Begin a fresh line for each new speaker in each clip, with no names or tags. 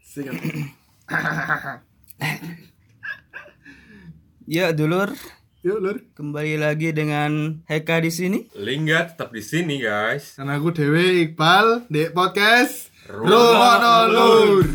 Sikat.
Ya, dulur,
Yuk lur.
kembali lagi dengan Heka di sini.
Lingga tetap di sini guys.
Karena aku Dewi Iqbal di podcast
Rumono
Rumono Lur.
Lur.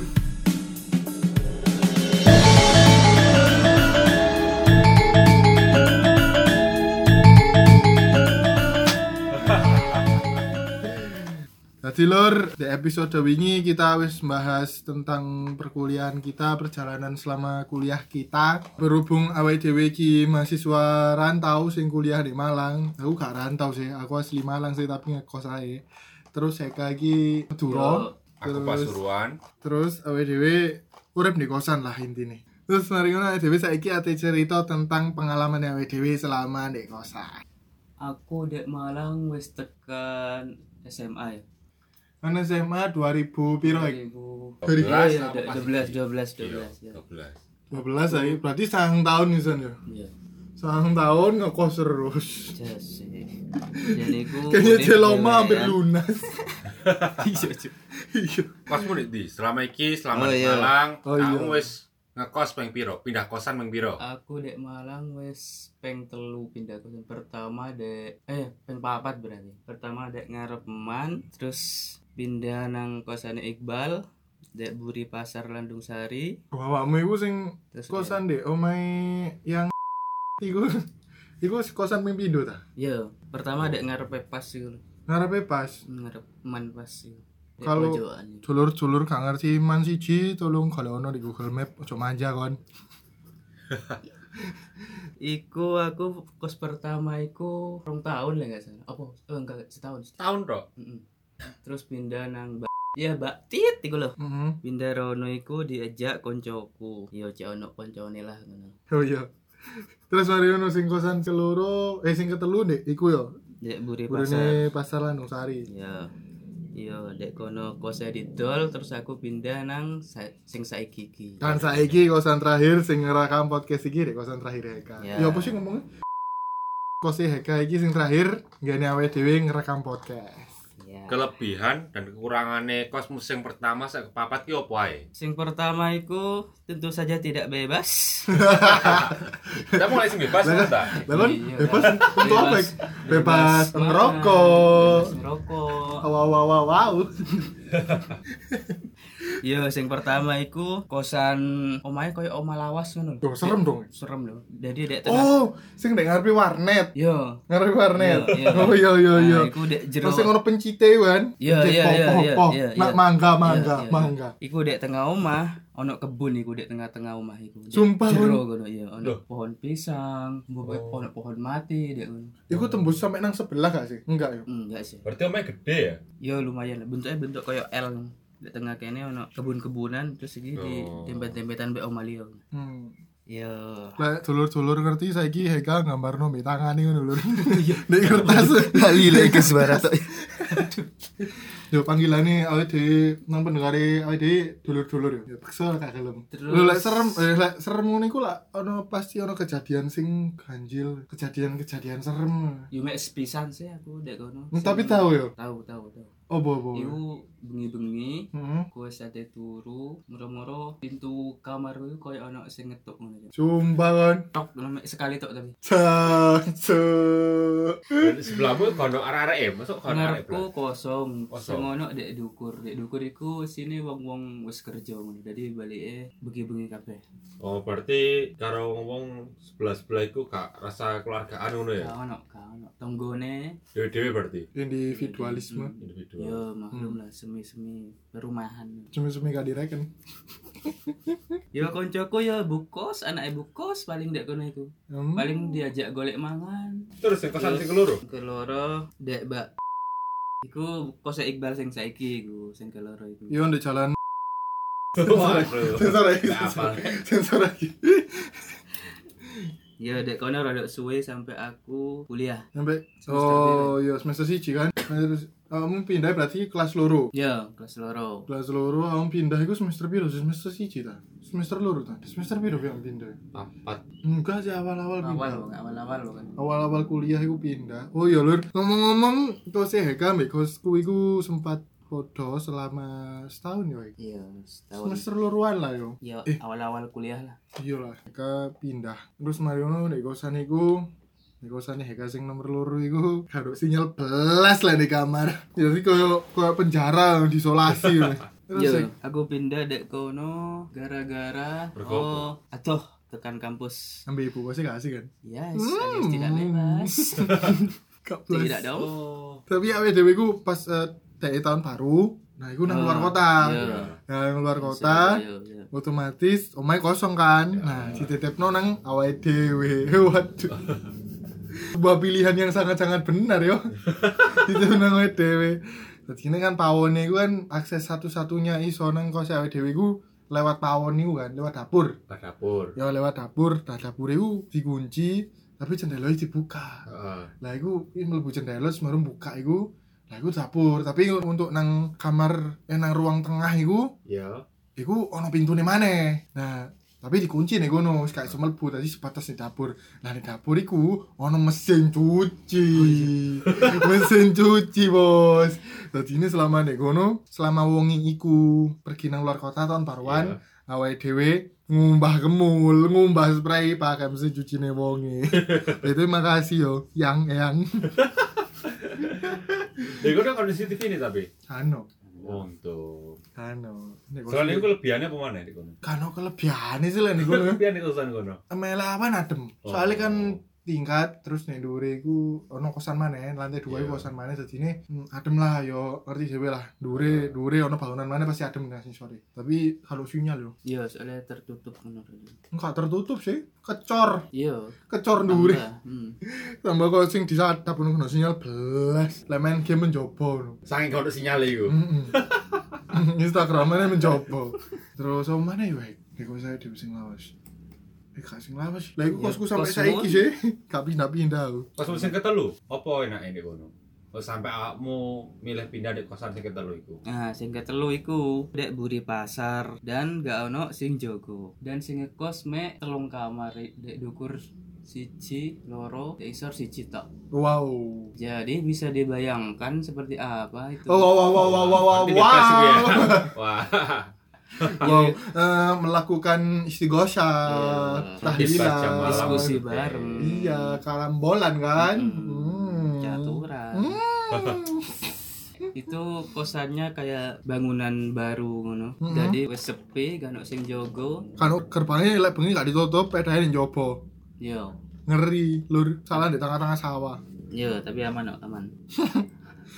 Tadi lur, di episode wingi kita wis bahas tentang perkuliahan kita, perjalanan selama kuliah kita. Berhubung awal dhewe iki mahasiswa rantau sing kuliah di Malang. Aku gak rantau sih, aku asli Malang sih tapi ngekos ae. Terus saya iki Madura.
Aku
Terus-
Pasuruan.
terus awake dhewe urip di kosan lah intine. Terus mari ngono awake dhewe saiki ate cerita tentang pengalaman awake dhewe selama di kosan.
aku dek Malang wis tekan SMA ya.
Kan SMA 2000 piro iki?
2000
2012
iya,
apa
dek,
sih?
12 12 12
Iya,
ya.
12.
12 ae berarti sang tahun nisan ya.
Iya.
Sang tahun ngekos terus.
Jas sih. eh. Dan iku
Kayaknya
urip
celoma hampir
dhewean.
lunas.
ya. Iya, Cuk.
Iya.
Pas murid di selama iki selama
Oh,
di
iya.
Malang,
Oh,
kamu
iya.
wis ngekos peng piro? Pindah kosan peng piro?
Aku dek Malang wis peng telu pindah ke pertama dek eh peng papat berarti. Pertama dek Ngarepeman, terus pindah nang kosane Iqbal, dek Buri Pasar Landung Sari,
Awakmu iku sing
Iya.
terus
kosan deh, omae yang iku iku kosan ping pindho ta?
Iya, pertama dek ngarepe pas iku.
Ngarepe pas.
Ngarepeman pas iku. Dek
Kalau-
pojokan iku.
Dulur-dulur gak ngerti man siji tolong kalau ono di Google Map ojo manja kon.
Iku aku kos pertama iku rong tahun lah nggak salah. Apa? Oh enggak setahun.
Tahun tok.
Mm-mm. Terus pindah nang Mbak. Ya Mbak Tit iku loh.
Heeh.
Pindah rono iku diajak koncoku. Yo cek ono koncone lah ngono.
Oh iya. Terus mari ono sing kosan keloro, eh sing ketelu Dek, iku yo.
Dek Buri Pasar.
Burene pasar Landung Sari.
Ya. Iya, dek kono kose didol terus aku pindah nang sa- sing saiki iki.
Dan Kan saiki kosan terakhir sing ngerekam podcast iki Dek, kosan terakhir Heka.
Ya.
Ya apa sih ngomongnya? Kose Heka iki sing terakhir gane awake dhewe ngerekam podcast.
Ya.
Kelebihan dan kekurangannya kos musim pertama saya kepapat ki opo ae?
Sing pertama iku tentu saja tidak bebas.
Kita mulai sing bebas
Lah,
kan ta?
Lah kan
Iya.
bebas untuk apa?
Bebas.
Bebas
makan,
merokok.
Bebas merokok.
Wow wow wow wow.
Iya. Yo, sing pertama iku kosan omahe koyo oma lawas ngono. lho.
Duh, serem dong.
Serem lho. Jadi dek tengah.
Oh, sing dek ngarepe warnet.
Yo.
ngarepe warnet.
Iya, iya.
Oh iya iya
Nah,
iya.
Iku dek jero.
Terus sing ngono pencite kan.
Iya,
Cek
iya, iya,
pop, pop,
iya,
pop.
iya,
Nak
iya.
mangga
Iya,
mangga
iya, iya.
mangga.
Iku dek tengah omah, ono kebun iku dek tengah-tengah omah iku. Dek
Sumpah,
jero
Bun. Oh.
ngono iya, ono
Loh.
pohon pisang, mbok ono pohon mati dek ngono.
Iku tembus sampe nang sebelah gak sih? Enggak yo.
Hmm, Enggak sih.
Berarti omnya gede ya?
Yo lumayan lah, bentuknya bentuk koyo L. Dek tengah kene ono kebun-kebunan terus iki di
Oh.
tembet-tembetan mbek omah liya.
Hmm.
Yo.
Lah dulur-dulur ngerti saiki Heka gambarno mbek tangane ngono lho. Nek kertas.
Lali lagi ke suara tok.
Yo panggilane awake dhewe nang pendengare awake dhewe dulur-dulur yo. Ya bekso gak gelem.
Terus-
Lho lek serem eh lek serem ngono iku lak ono pasti ono kejadian sing ganjil, kejadian-kejadian serem.
Yo mek sepisan sih aku dek kono.
Hmm, Tapi tahu yo.
Tahu, tahu, tahu.
Opo-opo.
Iku bengi-bengi
Heeh.
gue sate turu moro-moro pintu kamar gue koyo ono sing ngetuk ngono
Sumpah kan? kon.
tok ngono, mek sekali tok tapi
Cacu.
Berarti sebelahmu kono arah-arah eh,
Oh,
masuk kono arah
ngarepku kosong
Kosong.
sing ono dek dukur dek dukur iku sini wong-wong wis kerja ngono dadi balike bengi-bengi kabeh
Oh, berarti karo ngomong sebelah-sebelah iku gak rasa keluargaan ngono
Iya.
ya?
gak ono gak ono tonggone
Dewe-dewe berarti
Individualisme.
Hmm.
individual.
Yo maklum lah semi-semi perumahan.
Cumi-cumi gak direken.
Yo Ya, koncoku yo bukos, anake bukos paling dek kono iku.
Hmm.
Paling diajak golek mangan,
Terus yang kosan sing keloro.
keloro dek mbak iku kose Iqbal sing saiki iku sing keloro iku
Iya di jalan.
Waduh.
Sensor lagi.
Gak apa.
Sensor lagi.
ya dek kono rada suwe sampai aku kuliah
Sampai.
Semester
Oh iya semester siji kan. Semester- Kamu pindah berarti kelas loro.
ya kelas loro
Kelas loro kamu pindah itu semester biru semester siji ta. Semester loro ta. Semester biru yang pindah.
Papat.
Enggak sih awal-awal pindah.
awal awal-awal lo kan
Awal-awal kuliah aku pindah. Oh iya lur. Ngomong-ngomong kau sih Heka mbek kosku iku sempat podo selama setahun yo iki.
Iya, setahun.
semester luruan lah yo
Ya
Eh.
awal-awal kuliah lah.
iya lah Heka pindah terus Mariono di kosan iku di kosan Heka sing nomor loro iku karo sinyal belas lah di kamar jadi koyo koyo penjara diisolasi yo. terus
Iya,
sing-
aku pindah dek kono gara-gara
Berkopo.
oh atuh tekan kampus.
ambil ibu pasti gak asik kan
Yes,
Hmm.
alias tidak bebas.
Gak plus.
tidak dong.
Oh.
tapi awdw ku pas eh, TE tahun baru nah iku nang luar
Ah,
kota
iya.
nah nang luar kota
Iya, iya.
otomatis omai kosong kan nah dititipno nang awake dhewe waduh sebuah pilihan yang sangat-sangat benar yo itu nang awake dhewe Terus ini kan pawone iku kan akses satu-satunya iso nang kos awake dhewe ku lewat pawon iku kan lewat dapur
Ke dapur.
ya lewat dapur nah dapur iku dikunci tapi jendelanya dibuka
Heeh.
lah iku iki mlebu jendela terus baru buka iku lah iku dapur tapi untuk nang kamar eh nang ruang tengah iku
Ya.
iku ono pintune maneh nah tapi dikunci nih gono wis gak iso mlebu tadi sebatas di dapur nah di dapur iku ono mesin cuci mesin cuci bos jadi ini selama nih gono selama wongi iku pergi nang luar kota tahun paruan awake dhewe ngumbah gemul, ngumbah spray pakai mesin cuci nih wongi. Itu makasih yo, yang yang.
Ya gue udah kondisi TV ini tapi.
Kano,
Untuk.
kano.
Soalnya gue lebihannya apa mana di kono?
kano kelebihan sih lah nih gue.
Lebihan di kosan kono.
Melawan adem.
Oh.
Soalnya kan tingkat terus nih dure iku ono kosan mana lantai dua iku
Iya.
kosan mana jadi ini hmm, adem lah yo ngerti dhewe lah dure dure ono bangunan mana pasti adem nggak sih sore tapi kalau sinyal yo
Iya, soalnya tertutup menurut.
enggak tertutup sih kecor
Iya.
kecor dure
tambah. Hmm.
tambah kok sing di saat tapi nunggu sinyal belas lah main game mencoba
Saking kau sinyal itu.
Instagramnya mencoba terus oh mana ya wek Iku saya di sing lawas Eh gak sing lawas Lah iku
Ya,
kosku sampai
kos
saiki
mun.
sih Gak pindah-pindah aku
Pas musim ketelu, apa enaknya di kono? Pas sampai awakmu milih pindah di kosan sing ketelu itu.
Nah, sing ketelu iku dek buri pasar dan gak ono sing jogo. Dan sing ngekos mek telung kamar dek dukur siji loro dek isor siji tok.
Wow
Jadi bisa dibayangkan seperti apa itu.
Oh, wow, wow, wow, wow, wow, wow,
Nanti
wow,
depresi gue ya. Wah.
Wow, eh, melakukan istigosha,
Iya.
tahlilan,
Diskusi malam.
Diskusi bareng.
iya, karambolan kan,
Hmm, Caturan.
Hmm.
Itu kosannya kayak bangunan baru ngono.
Mhm.
Jadi wis sepi, gak ono sing jogo.
kan gerbangnya lek bengi gak ditutup, pedahnya njobo,
Yo.
ngeri, lur, salah di tengah-tengah sawah,
Yo, tapi aman kok, aman.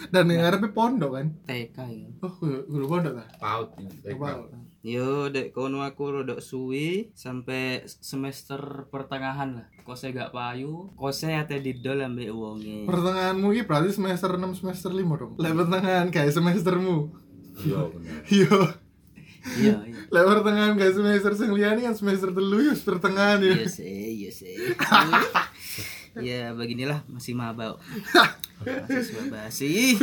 dan yang
Ya.
ngarepe pondok kan,
TK ya.
oh, guru guru pondok lah,
Paut.
Coba.
Yo, dek kono aku rodok suwi sampai semester pertengahan lah. Kose gak payu, kose ate didol ambek wonge.
Pertengahanmu ini berarti semester 6 semester 5 dong. Lah pertengahan kayak semestermu.
Iya bener.
Yo,
Iya, iya.
lah pertengahan kayak semester sing liyane kan semester 3 yo pertengahan ya.
Iya sih, iya sih. Ya beginilah masih mabau. Mahasiswa basi.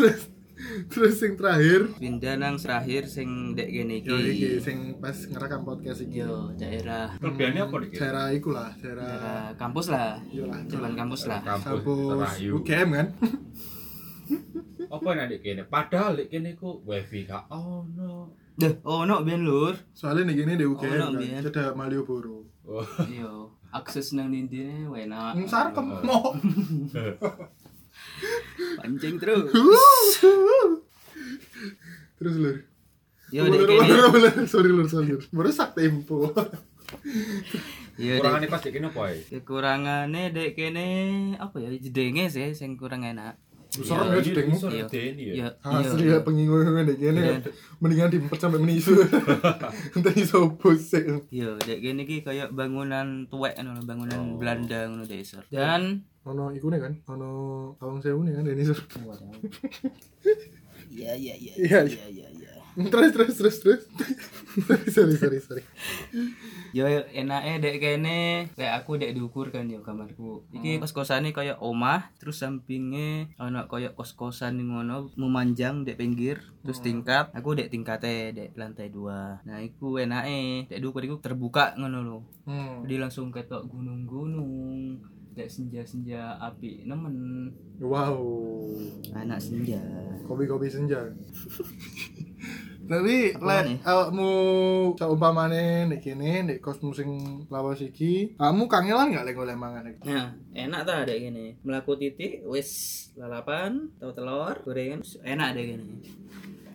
Terus yang terakhir
Pindah nang terakhir sing dek gene
yo iki
iki.
sing pas ngerekam podcast iki.
Yo, daerah
Lebihannya apa di kono?
Daerah iku lah, daerah
daerah kampus lah.
yo lah.
Jalan kampus lah.
Kampus
Terayu.
UGM kan?
Apa yang ada di kene? Padahal di kene ku wifi gak ono.
Deh, oh no ben lur.
Soalnya nih gini di UGM
Oh, no,
kan.
Bian.
Cedak Malioboro.
Oh.
Yo, akses nang ndine enak.
Ngisar kemo.
Pancing terus.
Terus lur.
Yo
Lur,
dek
lur,
gene.
lur, lur. Sorry lur, sorry lur. Merusak tempo.
Yo dek
Kurangannya pas di kene apa ya?
kekurangannya dek kene apa ya jedenge sih sing kurang enak
Serem ya jedengmu.
Serem
Iya.
ya.
Asli ya pengingungan deh gini Mendingan diempet sampai menisu Nanti iso pusing
yo dek kene iki kayak bangunan tuwek ngono lho, bangunan
Oh.
Belanda ngono dek isor dan
Ono iku nih kan Ono Tawang Sewu nih kan Denny Sur
iya iya iya
Iya,
iya
iya.
iya iya
Terus terus terus terus Sorry sorry sorry
yo enake dek kene kayak aku dek diukur kan yo kamarku
Hmm.
iki kos-kosane kayak omah terus sampinge ono kayak kos-kosan ngono memanjang dek pinggir terus
Hmm.
tingkat aku dek tingkate dek lantai dua nah iku enake dek diukur iku terbuka ngono lho
Hmm.
Jadi langsung ketok gunung-gunung, dek senja-senja api nemen
Wow,
Anak senja.
kopi-kopi senja. Tapi
Apa
lek
nih?
awakmu saumpamane nek kene nek kosmu sing lawas iki, kamu kangelan gak lek golek mangan iki?
Nah, enak ta ada gini. Melaku titik, wis lalapan, tau telur, gorengan, enak ada gini.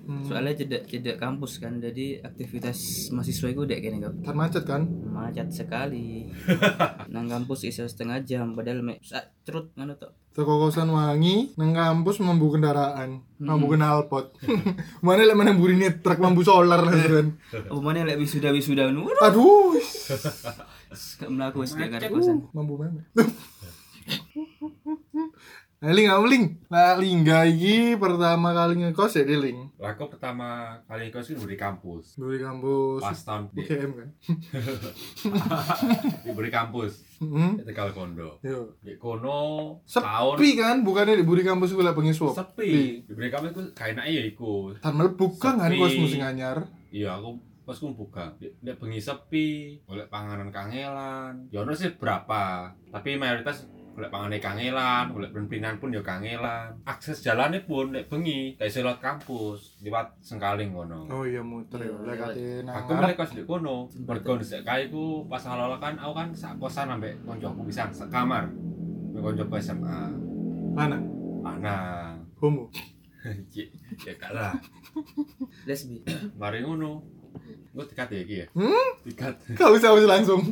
Hmm.
soalnya jeda jeda kampus kan jadi aktivitas mahasiswa itu dek kene kok
Ntar macet kan?
macet sekali nang kampus iso setengah jam padahal mek sak cerut ngono tok
Toko kosan wangi, nang kampus mambu kendaraan, mambu knalpot. Mana lek menemburi nih truk mambu solar kan.
Omane Oh, lek wisuda wisuda nu
Aduh,
gak mlaku wis gak karep kosan.
mambu meme. Nah, Ling, aku Ling. Nah, Lingga iki pertama kali ngekos ya di Ling.
Lah aku pertama kali kau sih di kampus.
Duri kampus
Pas tahun di,
UGM kan.
diberi kampus
Heeh.
di Tegal Kondo.
Yo.
Di kono tahun
Mm-hmm. Sepi kan, bukannya di Buri Kampus gue pengen swap
sepi. Diberi kampus aku kayak enak ya ikut.
Tan melebu kan kan
Sepi.
kos musim anyar
Iya aku pas aku buka, Di- di bengi sepi, boleh panganan kangelan. Ya ono sih berapa, tapi mayoritas boleh panganan kangelan, boleh pimpinan pun ya kangelan. Akses jalannya pun nek bengi, kayak lewat kampus, lewat Sengkaling kono.
Oh iya muter ya, lek ate nang
iya. aku
ngarep
mulai kos di kono mergo sejak kae ku pas halal kan aku kan sak kosan ambek koncoku pisan sak kamar ambek koncoku SMA
mana?
Ah, ana
Homo.
ya ya kalah
Lesbi.
mari ngono gue tikat ya iki ya
Hmm?
tikat
Gak usah usah langsung.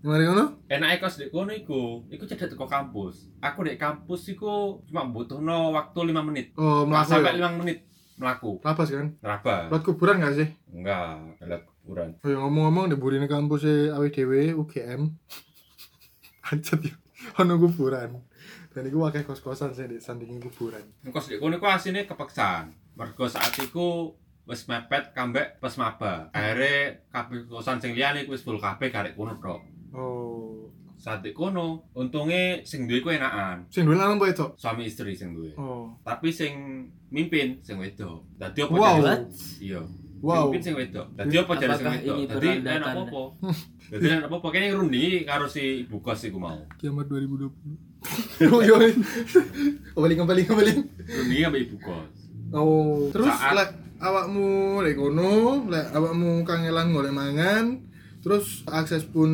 Mari ngono.
enake kos di kono iku iku cedek teko kampus aku di kampus iku cuma butuhno waktu 5 menit
Oh, melaku.
sampai
ya?
5 menit melaku
Lapas kan?
neraba
Buat kuburan gak sih?
enggak lewat kuburan
Oh, ya, ngomong-ngomong di Buri Kampus e AWDW UGM. Ancet ya. Ono kuburan. Dan iku akeh kos-kosan sih di sandingi kuburan.
Engkos di kono ku asine kepeksaan. Mergo saat iku wis mepet kambek pas maba. Akhire kabeh kosan sing liyane ku wis full kabeh karek kono tok.
Oh,
Saat di kono untunge sing duwe ku enakan.
sing duwe lanang apa itu?
Suami istri sing duwe.
Oh.
Tapi sing mimpin sing wedok. Dadi apa
Wow.
jadi? Iya.
Wow.
Mimpin sing wedok. Dadi apa jadi sing
Apakah
wedok?
ini
Dadi
peranda
enak
tanda?
apa? Dadi enak apa kene rundi karo si ibu kos iku mau.
Kiamat 2020. Yo yo. Kembali kembali kembali.
Rundi ambek ibu kos.
Oh, terus
Saat-
lek awakmu lek kono, lek awakmu kangelan golek mangan, terus akses pun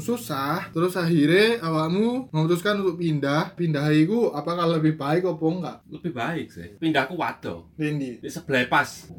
susah, terus akhirnya awakmu memutuskan untuk pindah. Pindah iku apakah lebih baik apa enggak?
Lebih baik sih. Pindahku wadah.
Rindi.
Di sebelah pas.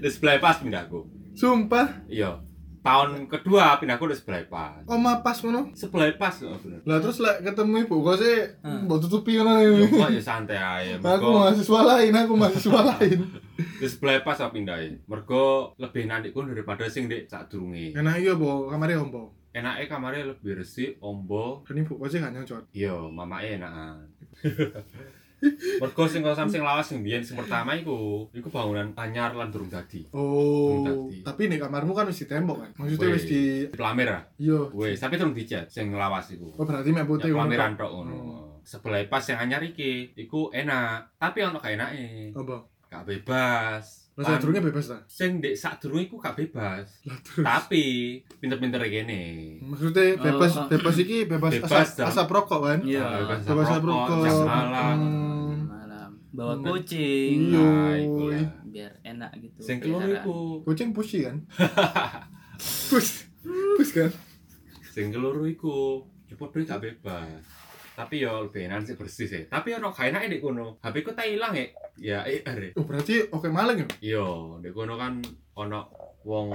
di sebelah pas pindahku.
Sumpah,
Iya. Tahun kedua pindahku di sebelah pas.
oma pas ngono.
Sebelah pas loh bener.
Lah terus lek ketemu ibu kok sih mbok tutupi ngono.
Ya kok ya santai aja.
Aku
Mergo
mahasiswa lain, aku mahasiswa lain.
di sebelah pas aku pindahin. Mergo lebih nantiku daripada sing di sak durunge.
Enak iya apa kamare ombo?
Enaknya kamarnya lebih resik, ombo.
Dan ibu kok sih gak nyocot.
Iya, mamake enakan. Mergo sing kosan sing lawas sing biyen sing pertama iku, iku bangunan anyar lan durung dadi.
Oh,
Tadi.
tapi nih kamarmu kan wis di tembok kan. Maksudnya wis
Weh.
di
Plamer ah.
yo.
Wes, tapi durung dicat sing lawas iku.
Oh, berarti mek putih
Ya,
ngono
pameran
tok.
tok ngono. Sebelah pas yang anyar iki, iku enak, tapi ono gak enake.
Apa?
Gak bebas.
Lah
Pan-
sadurunge bebas ta?
sing ndek sadurunge iku gak bebas.
Lah terus.
Tapi pinter-pinter kene.
Maksudnya bebas
Oh.
bebas iki bebas,
Bebas,
asap,
Dam.
asap rokok kan?
Iya.
Bebas
Bebas asap rokok.
jam malam.
Hmm.
Malam bawa
Hmm.
kucing
Iya.
Nah, ikulah.
biar enak gitu.
Sing keluar
peliharaan.
iku,
Kucing pushi kan? Pus. Pus kan?
sing keluar iku, cepet duit gak bebas. Tapi ya lebih enak sih bersih sih. Tapi ono gak enake ndek kono. HP ku tak ilang ya. Ya eh are.
Oh, berarti oke maling ya?
Iya, ndek kono kan ono wong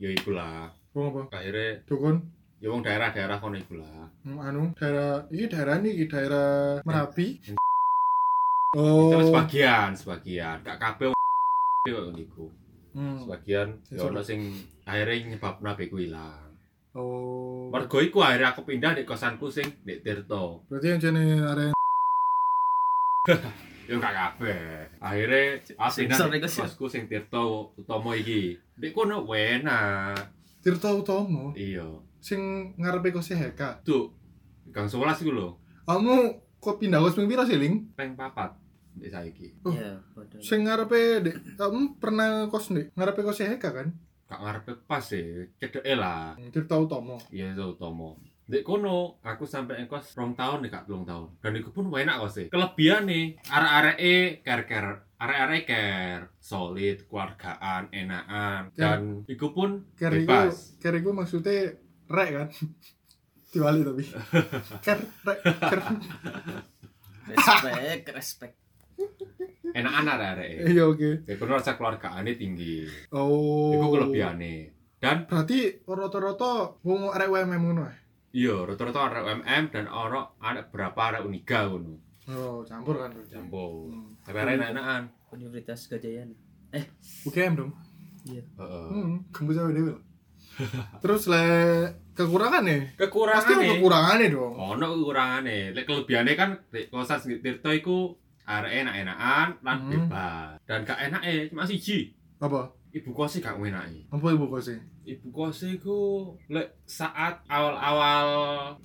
ya ikulah.
Wong apa?
Akhirnya
Dukun.
ya wong daerah-daerah kono ikulah.
Hmm, Anu, daerah iki daerah ini iki daerah Merapi.
Eh. Tapi
Oh.
sebagian, sebagian. Gak kabeh wong kaya niku.
Hmm.
Sebagian ya
Sesuk.
ono sing akhirnya nyebabno abeku ilang.
Oh.
Mergo iku akhirnya aku pindah di kosanku sing di Tirto.
Berarti yang jane area
Yo gak kabeh. Akhirnya aku pindah
sensor
di
iku, sensor.
kosku sing Tirto Utomo iki. Ndek kono enak.
Tirta Utomo
Iya.
sing ngarepe kose Heka.
Tuh, Gang 11 iku lho,
Kamu kok pindah kos ping pira sih, Ling?
peng papat ndek saiki.
Iya, bodoh.
sing ngarepe dek kamu pernah kos dek ngarepe kos Heka kan
gak ngarepe pas sih cedeke lah
Tirta Utomo
Iya itu Tomo. Dek kono, aku sampai engkos rong tahun nih kak, belum tahun. Dan itu pun enak kok sih. Kelebihan nih, arah-arah e care care, arah-arah care, solid, keluargaan, enakan, dan itu pun
Care iku
bebas.
care iku maksudnya rek kan Diwali tapi Care rek care
respect respect
Enakan arah-arah e.
Iya oke
Dek kono rasa keluargaannya tinggi.
Oh
Itu kelebihan nih. Dan
Berarti rata-rata wong arek UMM ngono ya?
iya, rata-rata ada UMM dan orang ada berapa ada uniga kono.
Oh, campur kan. berarti.
Jambo.
Hmm.
Tapi arah enak-enakan.
Universitas Gajayana
UGM dong.
Heeh.
Hmm, kampus awake dhewe. lho. Terus le kekurangan nih. Pasti ono
Kekurangan nih.
kekurangane dong.
ono kekurangane lek kelebihane kan lek kosan sing Tirto iku arek enak-enakan lan
Hmm.
bebas dan gak enake cuma siji
Apa?
ibu kose gak ngenaki
Apa ibu kose?
ibu kose iku lek saat awal-awal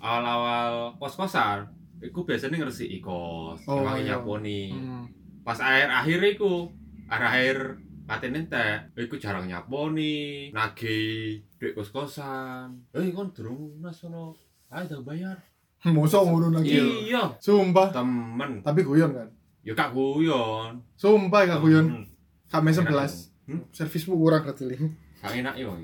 awal-awal kos-kosan iku biasanya ngresi kos
Oh,
oh,
iya.
nyaponi
Hmm.
pas akhir-akhir iku akhir-akhir paten entek iku jarang nyaponi nagih duit kos-kosan eh kon durung lunas ono ayo tak bayar
Mosok ngono lagi.
iya
Sumpah.
temen
Tapi guyon kan.
Ya kak guyon.
Sumpah gak guyon.
Hmm.
Kami
Enak,
11.
Hmm?
Servismu kurang kecil.
Kak enak ya bang.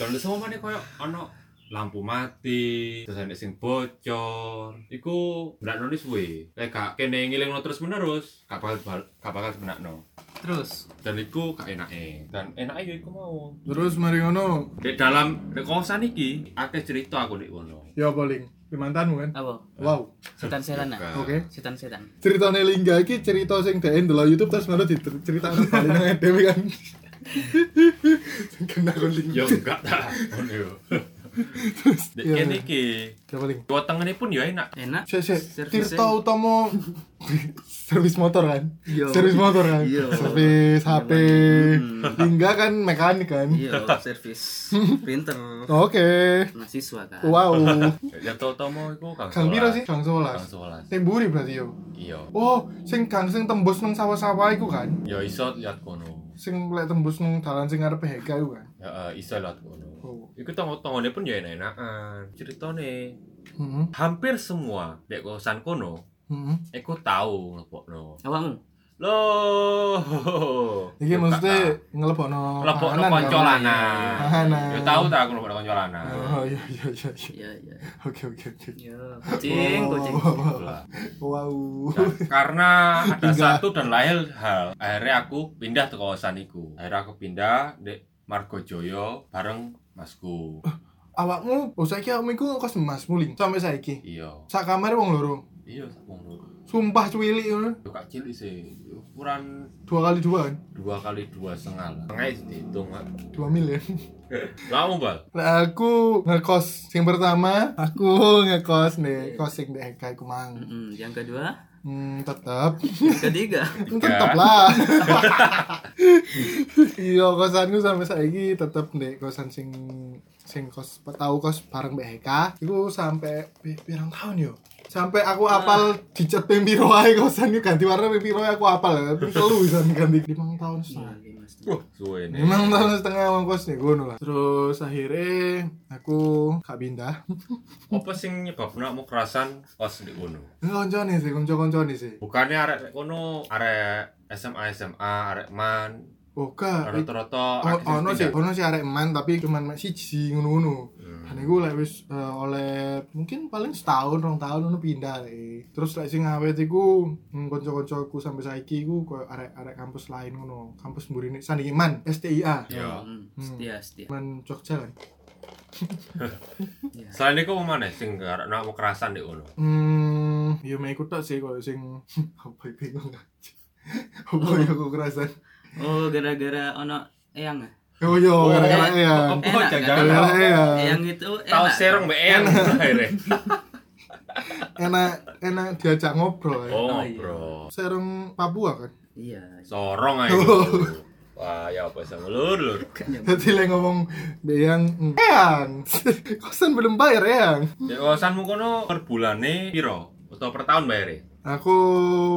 Dan lu semua mana koyo ono lampu mati, terus ada sing bocor. Iku benak nulis suwe. Lek kak kene ngiling terus menerus, kak bakal bal- gak bakal benak
terus
Dan iku kak enak e. Dan enak ya iku mau.
Terus mari ngono.
Di dalam di kosan iki, akeh cerita aku di kono.
Ya paling. Mantanmu kan.
apa
Wow.
setan setan nak
Oke.
setan setan
Ceritane Lingga iki cerita sing dhek ndelok YouTube terus malah diceritakan balik nang dhewe kan. Kena kon Lingga.
Ya enggak ta. Ngono yo. Dek
Iya,
kene
iya.
iki,
Ya paling.
dua tengene pun ya enak.
enak
Sik, sik.
Servisnya-
Tirto Utomo servis motor kan?
Iya.
Servis motor kan?
Iya.
Servis HP. Hingga kan mekanik kan?
iya servis printer
Oke.
mahasiswa kan
Wow.
Ya tau-tau iku kang.
Gang piro
Solas.
sih? Gang 11.
Kang Solas.
Sing mburi berarti yo.
Iya.
Oh, sing gang sing tembus nang sawah-sawah iku kan?
Ya iso lihat kono.
Sing lek tembus nang dalan sing arep HK iku kan?
Ya eh, iso lihat kono.
Oh.
Iku tonggo-tonggone pun ya enak-enakan. Ceritane
Heeh.
hampir semua dek kosan kono
Heeh.
iku tau ngelebokno.
awakmu
Loh.
Iki
Ya,
maksudnya
tak
ngelebokno
tau. ngelebokno
panganan,
konco
Iya,
kan?
lanang.
Panganan.
Ya tau tak aku ngelebokno konco lanang.
Oh, iya iya iya.
ya
iya.
ya
Oke oke oke.
ya kucing
Oh.
kucing
Lah.
Wow.
Dan karena ada
Pindah.
satu dan lain hal, akhirnya aku pindah ke kawasan iku. Akhirnya aku pindah dek Margo Joyo bareng masku.
awakmu oh saiki awakmu iku kos emas muling sampai saiki
Iya.
sak kamar wong loro
Iya, sak wong loro.
sumpah cuwili ngono
Yo kak cilik sih, ukuran
dua kali dua kan
dua kali dua setengah lah. Setengah itu dihitung lah.
dua miliar
Lama bal.
nah, aku ngekos sing pertama aku ngekos nih kos sing di Eka iku mang
Mm-mm. yang kedua
hmm tetep
yang ketiga
Kan tetep lah iya kosanku sampai saiki tetep nih kosan sing sing kos tahu kos bareng Mbak Eka iku sampai pi- pirang tahun yo sampai aku apal dicat pembi roai kosan iku ganti warna pembi roai aku apal ping telu bisa ganti lima tahun setengah
Iya, lima setengah.
Wah, suwe nih.
Memang tahun setengah ongkos nih gue lah. Terus akhirnya aku gak pindah.
Apa sing nyebabna mau kerasan kos di kono?
Ini koncone sih, konco-koncone sih.
Bukannya arek kono arek SMA SMA arek man
Oh gak. ik- o-
rata-rata akeh sing
Ono Oh, sih,
pindah.
ono sih arek eman tapi cuman mek siji ngono-ngono.
Hmm.
Dan iku lek wis eh, oleh mungkin paling setahun, rong tahun ngono pindah lek. Terus lek sing awet iku mm, kanca-kancaku sampe saiki iku koyo arek-arek kampus lain ngono. Kampus Mburine Sandi Iman, STIA.
Iya.
Mm,
Hmm.
setia setia
Iman Jogja kan.
Selain iku apa maneh sing arek mau kerasan di kono?
Hmm, ya mek ikut tok sih koyo sing apa ya, bingung aja. Apa ya aku kerasan?
oh gara-gara ono eyang ah?
Oh iya,
Oh,
gara-gara
eh,
ya.
Oh, Iya.
Enak,
jangan-jangan
Gara-gara ya.
eyang itu
tau
enak. kan?
serong BN akhirnya.
Enak enak diajak ngobrol. Ya.
Oh,
Oh, iya.
bro.
Serung Papua kan.
iya
Sorong aja.
Oh.
Wah, ya apa sama lur lur.
Jadi lagi ngomong Eyang, Eyang, kosan belum bayar Eyang.
Dek kosanmu kono per bulane piro? Atau per tahun bayare?
Aku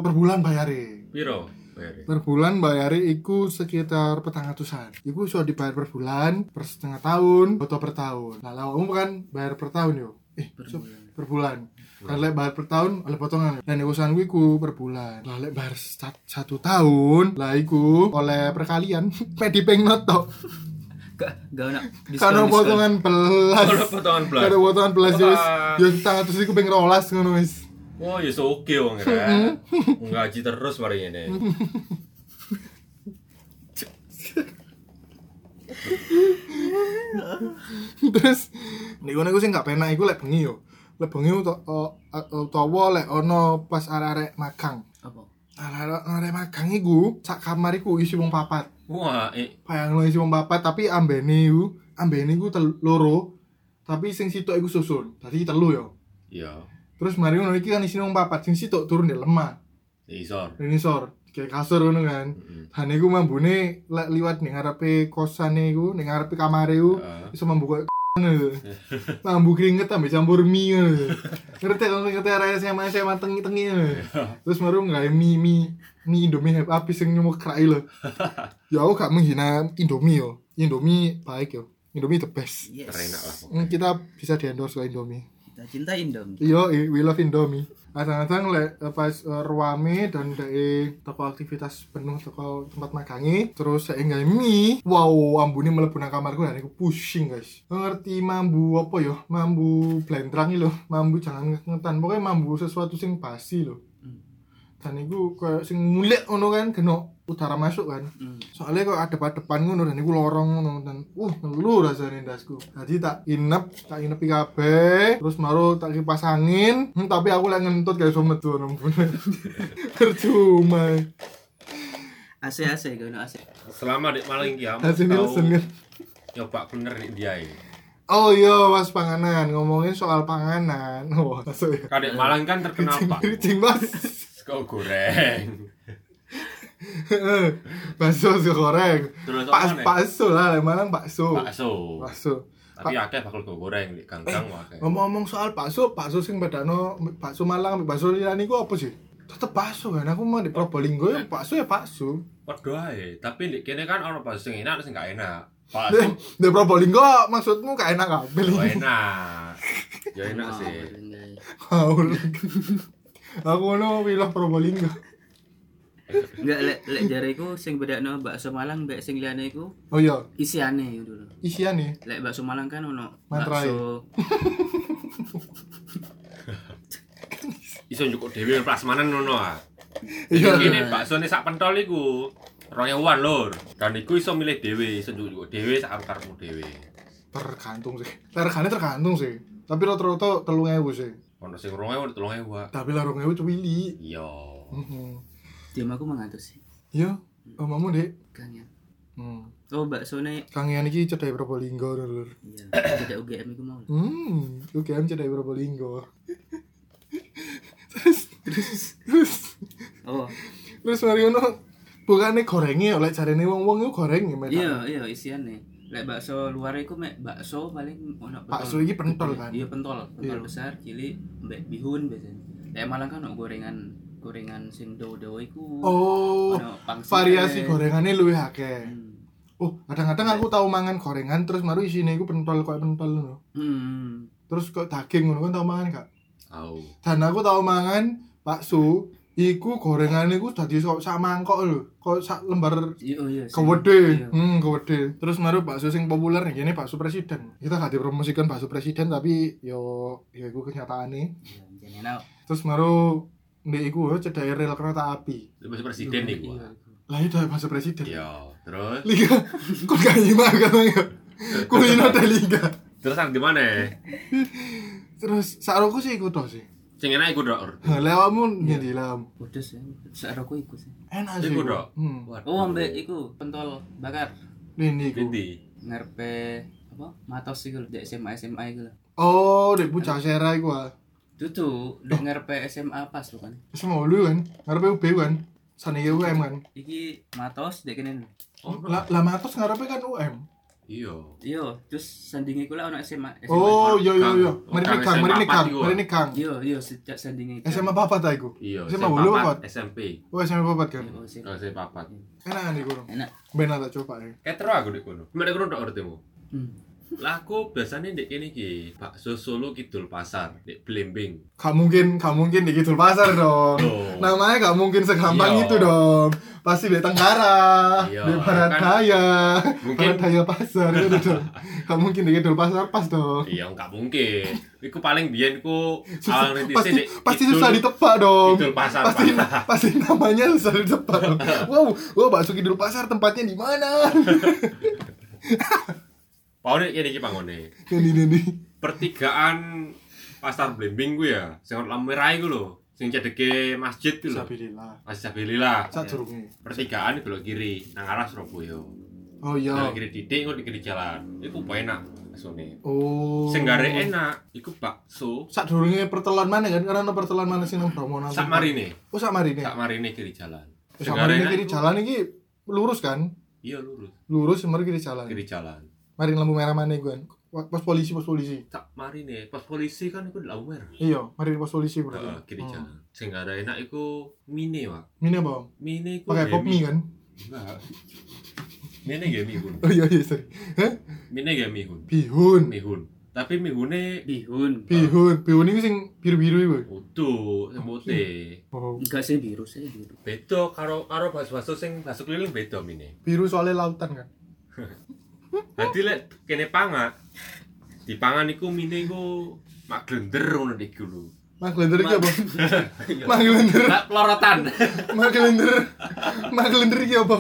per bulan bayar
Piro? bayar
per bulan bayari iku sekitar petang ratusan iku iso dibayar per bulan per setengah tahun atau per tahun lah lah kamu kan bayar per tahun yo eh so- per bulan kan lek bayar per tahun oleh potongan dan urusan gue ku per bulan lah lek bayar sat- satu tahun lah iku oleh perkalian pedi peng noto
Gak gak ono
karena potongan
Kalau
belas
potongan belas
karena potongan belas yo wis
Wah.
yo setengah ratus iku peng rolas ngono wis
Wah, ya so oke wong ya. Ngaji terus mari ini.
terus nih gue sih nggak penak iku lek bengi yo lek bengi uto- o- a- utawa lek ono pas arek-arek magang
apa?
arek-arek arek magang iku sak kamar iku isi wong papat
Wah, eh,
bayangno isi wong papat tapi ambene iku ambene iku tel- loro tapi sing sitok iku susun tadi telu yo
ya,
terus mari ngono iki kan isi wong papat sing sitok turun di lemah
isor.
ini sor kayak kasur ngono kan dan iku mambune lek liwat ning ngarepe kosane iku ning ngarepe kamare iku
Heeh.
bisa membuka mambu keringet tambah campur mie ngono. ngerti kalau ngerti arah SMA SMA tengi tengi terus baru nggak mie mie mie Indomie heb- habis yang nyemuk kerai lo ya aku gak menghina Indomie yo Indomie baik yo Indomie the best
Yes.
Terenak lah. pokoknya.
Hmm, kita bisa di endorse ke Indomie
Kita cintain dong.
Yo, we love Indomie. Kadang-kadang lek eh, pas eh, ruame dan dari toko aktivitas penuh toko tempat makangi terus saya nggak mie wow ambune mlebu nang kamarku dan aku pusing guys ngerti mambu apa yo mambu blendrang iki lho mambu jangan ngetan pokoknya mambu sesuatu sing basi lho dan iku kayak sing ngulik ngono kan kena udara masuk kan
Mm.
soalnya kok ada depan ngono dan iku lorong ngono dan uh ngeluh rasanya ndasku jadi tak inep tak inep kabeh terus maru tak kipas angin hmm, tapi aku lagi ngentut kayak iso metu nang percuma
AC AC gak ono AC.
Selama di maling kiam.
hasil Nielsen kan
Coba bener di dia. ya.
oh iya mas panganan ngomongin soal panganan wah masuk ya
Kadek Malang kan terkenal Pak.
Cing mas
Sego goreng.
Eh, bakso sih goreng
Terus
pas
apa nih?
bakso lah yang malang bakso
Bakso.
bakso
Tapi akeh bakal sego goreng di kangkang akeh.
ngomong-ngomong soal bakso bakso sing bedano bakso Malang ambek bakso liyane iku apa sih tetep bakso kan aku mau di Probolinggo ya bakso ya bakso
Padha ae, tapi di kene kan ono bakso sing enak ada sing gak enak.
di,
Bakso
di Probolinggo maksudmu gak enak kabel
oh,
iki
enak. Ya enak
Oh,
sih.
Haul. aku ono wilayah Probolinggo
Enggak lek lek jareku sing bedakno bakso Malang mbek sing liyane iku
oh iya ya.
isiane gitu loh.
isiane
Lek bakso Malang kan ono
Materai.
bakso
Iso cukup dhewe prasmanan ngono ah.
iya
Ini bakso ini sak pentol iku. Rong ewan lur. Dan iku iso milih dhewe, iso cukup dhewe sak karepmu dhewe.
tergantung sih tergantung tergantung sih tapi rata-rata telung ewu sih
Ono sing 2000 ono 3000 Wak.
tapi lah rong ewu cuwili
ah. Iya.
Mhm.
diam aku mangatus sih.
iya omamu dek
Kangen.
hmm.
Oh baksone
kangen iki cedai Probolinggo lur
iya, tidak UGM iku mau.
Hmm, UGM cedai Probolinggo. terus, terus,
Oh,
terus, terus Mariono bukannya gorengnya oleh caranya wong-wong itu goreng ya Mas?
iya iya isiane. Lek bakso luar iku mek bakso paling ono pentol.
Bakso ini pentol kan?
Iya pentol, pentol
Iya.
besar, cilik, mbek bihun biasanya. Lek Malang kan ono gorengan gorengan sing dawa-dawa iku.
Oh,
Ono pangsit eh.
variasi gorengannya luwih akeh.
Hmm.
Oh, kadang-kadang aku tahu mangan gorengan terus maru isine iku pentol koyo pentol ngono.
Hmm.
Terus kok daging ngono kan tau mangan gak?
Au.
Dan aku tau mangan bakso iku gorengan iku dadi sok sak mangkok lho, koyo sak lembar
Iya, oh iya. sih.
Kewede,
Iya.
hmm, kewede. Terus maru bakso sing populer nih, ini bakso presiden. Kita gak dipromosikan bakso presiden tapi yo yo iku kenyataane.
Iya, jan enak.
Terus maru ndek iku yo cedhake rel kereta api.
Itu masih presiden
Iya,
iku.
iya.
Wak.
Lah itu bakso presiden.
Iya, terus
Liga, kok gak nyimak katanya. Kulino ada liga.
terus nang di mana?
Terus saroku sih iku toh sih.
Sing enak iku, Dok. Ur. Iya.
Lewamu ngendi lam.
Pedes ya. Sak aku iku sih.
Enak sih.
Iku,
iku.
Dok.
Hmm.
Waduh.
Oh, ambek iku pentol bakar
Ini iku.
Binti.
ngarepe apa? Matos iku lho, dek SMA SMA iku lho.
Oh, dek bocah sera iku ah.
Dudu, dek ngarepe SMA pas lho kan.
Semua lu kan, ngarepe UB kan. Saniki UM kan.
Iki matos dek kene. lho.
Oh,
Lah, lah matos ngarepe kan UM.
Iya.
Iya, terus sandinge ku lek ono SMA. SMA.
Oh, yo yo yo.
Kang.
Mari nih
Kang
Kang,
SMA
mari nih Kang,
papat iku.
mari nih Kang.
Iya, iya sejak sandinge. iku.
SMA papat ta iku?
Iya,
SMA bulu
papat,
papat.
SMP.
Oh, SMA papat kan.
Iya, sih.
Kalau Oh, saya papat.
Enak nih kurang.
Enak.
Ben tak coba ya.
Ketro aku di kono. Gimana kono tok artimu?
Hmm.
Lah aku biasanya di kene iki, bakso Solo Kidul Pasar, di Blimbing.
Gak mungkin, gak mungkin di Kidul Pasar dong.
Loh.
Namanya gak mungkin segampang
Iya.
itu dong. Pasti di Tenggara,
Iya,
di Barat
kan.
Daya, Barat
Mungkin-
Daya Pasar itu dong. Gak mungkin di Kidul Pasar pas dong.
Iya, enggak mungkin. Iku paling biyen ku
Susah-
awal ngerintis
pasti
di
pasti
Kidul-
susah ditebak dong.
Kidul Pasar,
Pasti
Pak.
pasti namanya susah ditebak. dong. wow, wow bakso Kidul Pasar tempatnya di mana?
Paune kene iki pangone.
ini Kan ini, ini.
Pertigaan Pasar Blimbing ku ya, sing ono lampu merah iku lho, sing cedeke masjid ku lho.
Sabilillah.
Masjid Sabilillah.
Sak durunge.
Pertigaan di belok kiri, nang arah Surabaya.
Oh
Belok
iya.
kiri didik, kok di kiri jalan. Iku enak asone.
Oh.
Sing gare enak, iku bakso
Sak durunge pertelan mana kan? Karena ono pertelan mana sih nang Bromo nang.
sak marine,
Oh sak marine.
sak marine kiri jalan.
Oh,
Sing
Sak marine
gare enak
kiri
iku-
jalan iki lurus kan?
Iya lurus,
Lurus semar kiri jalan.
kiri jalan.
Mari lampu merah mana gue? Pos polisi, pos polisi.
Sak marine, pas polisi kan iku di lampu merah.
Iya, mari pos polisi berarti.
Heeh, kiri
Hmm.
jalan. Sing gare enak iku mine, Pak.
Mie apa?
Mine iku
Pakai
ya
pop mie kan?
Enggak. Mine ya mihun.
Oh iya iya sorry. Hah?
Mine ya mihun.
Bihun.
Mihun. Tapi mihune
Bihun.
Bihun, bihun ini sing biru-biru iku.
utuh, sing putih.
Oh,
Enggak sih biru sih biru.
Beda karo karo bakso-bakso sing bakso keliling beda mine.
biru soalnya lautan kan.
Dadi lek kene pangan dipangan iku mine iku mak glender ngono iki lho.
Mak glender iki apa?
Iya.
Mak glender,
Lah pelorotan.
mak glender. Mak glender iki apa?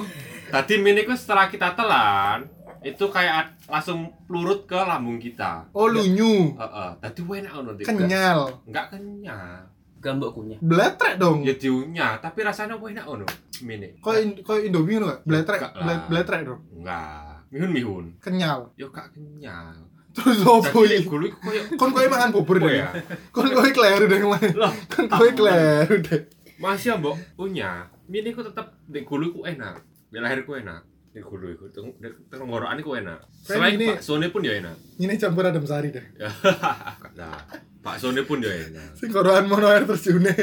Tadi mine iku setelah kita telan, itu kayak at- langsung lurut ke lambung kita.
Oh, lunyu.
Heeh, tadi enak ngono iki.
Kenyal.
Enggak kenyal.
Gambok kunyah.
Bletrek dong.
Ya diunyah, tapi rasanya enak ngono mine.
Kok in- kok Indomie ngono gak? Bletrek,
Enggak lah.
ble- bletrek dong.
Enggak. Mihun mihun.
Kenyal.
Yo gak kenyal.
Terus opo iki?
Tadi gulu iku koyo
Oh, Kon kowe makan bubur
Apa
deh.
ya?
Kon kowe kleru deh kemarin.
Loh,
Kon kowe kleru deh.
Masih ya mbok punya, mini ku tetep di gulu ku enak, di lahir ku enak, di gulu ku, teng- di tenggorokan ku enak.
Kan
Selain
ini-
Pak Sone pun ya enak.
Ini campur adem sari deh.
nah, Pak Sone pun ya enak.
Sing koroan mono air terjune.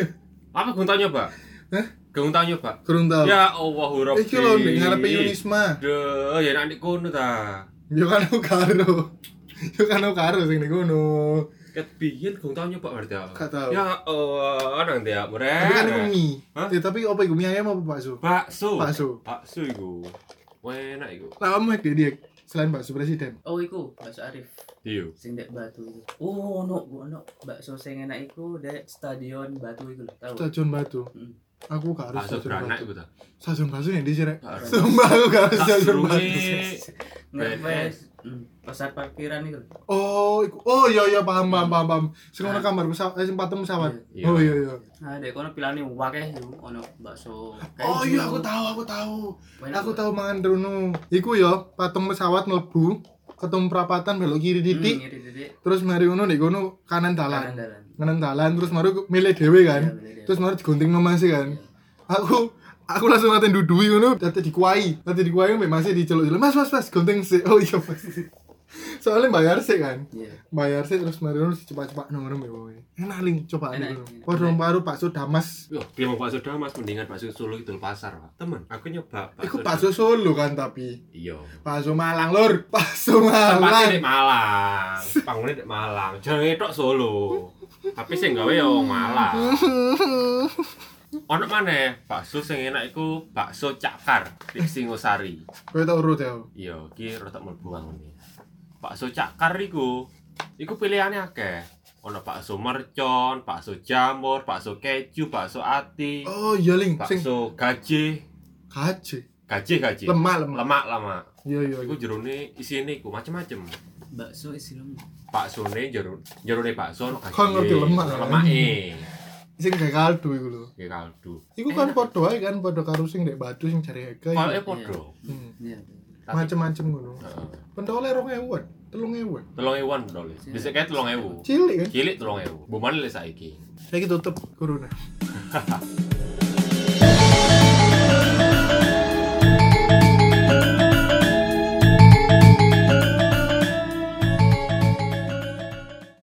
Apa guntang nyoba?
Hah?
Guntang nyoba.
Kurang tau. Eh,
Ya Allah Rabbi.
Iki lho ning ngarepe Yunisma.
Duh, ya enak di kono ta.
Yo kan aku karo. Yo kan aku karo sing ning kono.
Ket biyen guntang nyoba berarti. ya?
Gak tahu.
Ya Allah, nang dia
Tapi kan iku
meren.
mie.
Hah? Oh.
Eh, tapi apa iku mie ayam apa bakso?
Bakso.
Bakso.
Bakso iku. Wah, enak iku.
Lah kamu dia dia selain bakso presiden.
Oh iku bakso Arif
Iyo.
sing dek Batu itu. Oh ono gua ono bakso sing enak iku dek stadion Batu iku lho. Tahu.
Stasiun Batu.
Hmm.
Aku gak harus
Bakso
stasiun
beranak
Batu.
iku ta.
Stasiun Batu yang di sini. Rek.
Gak harus.
Sumpah aku gak harus
Tak
stasiun
surunge.
Batu.
Ngepes. Hmm, Pasar parkiran iku. lho.
Oh, iku. Oh iya iya paham paham paham paham. Sing ono kamar pesawat, eh sing patung pesawat.
Iya.
Oh iya iya.
Nah, dek kono pilane wakeh iku ono bakso.
Oh iya aku tahu aku tahu. Aku
Hmm,
tahu mangan drono. Iku yo patung pesawat mlebu, ketemu perapatan belok kiri titik.
Titik. Titik.
Terus mari ngono nek ngono Hmm. kanan dalan.
Dalan-dalan.
Kanan dalan terus mari milih dhewe kan.
Iya, milih dhewe.
terus mari digunting sama masih kan. Aku aku langsung ngatain dudui ngono, dadi dikuai. Dadi dikuai mbek masih diceluk-celuk. Mas, mas, mas, gunting sih. Oh iya, Mas. Soalnya bayar sih kan.
Iya.
Bayar sih terus mari ngono cepat-cepat ngono mbek wong. Enak ling cobaan
Enak,
ngono.
enak.
Padha paru bakso damas.
Yo, dia mau bakso damas mendingan bakso Solo itu pasar, Pak. Temen, aku nyoba
Iku bakso Solo kan tapi.
Damas. Iya.
Bakso Malang, Lur. Bakso Malang.
Tempatnya di Malang, panggungnya di Malang. Jangan itu Solo. Tapi sing gawe ya wong Malang. Ono mana bakso sing enak iku bakso cakar di Singosari.
Kowe tau urut ya.
Iya, iki rotok mlebu ngene. Bakso cakar iku iku pilihane akeh. Ono bakso mercon, bakso jamur, bakso keju, bakso ati,
Oh iya ling, sing
bakso gajih,
gaji.
gajih gajih.
Lemak, lemak.
Iya. lemak lemak
Iya iya. iya.
iku jerone isine iku macem-macem
Bakso isi lemu.
baksone jero jerone bakso ono
Kan ngerti lemak, kan?
lemake
Sing kayak kaldu iku lho.
ya kaldu
Iku kan podo ae kan podo karo sing ndek batu sing jare Ega. iku.
pokoke e padha
Hmm.
Iya.
Tapi-
Macem-macem ngono.
Heeh.
Pentole 2000-an, 3000-an.
3000-an dole bisa kae 3000
Cilik kan.
cilik 3000 bumane lek saiki
Saiki tutup corona.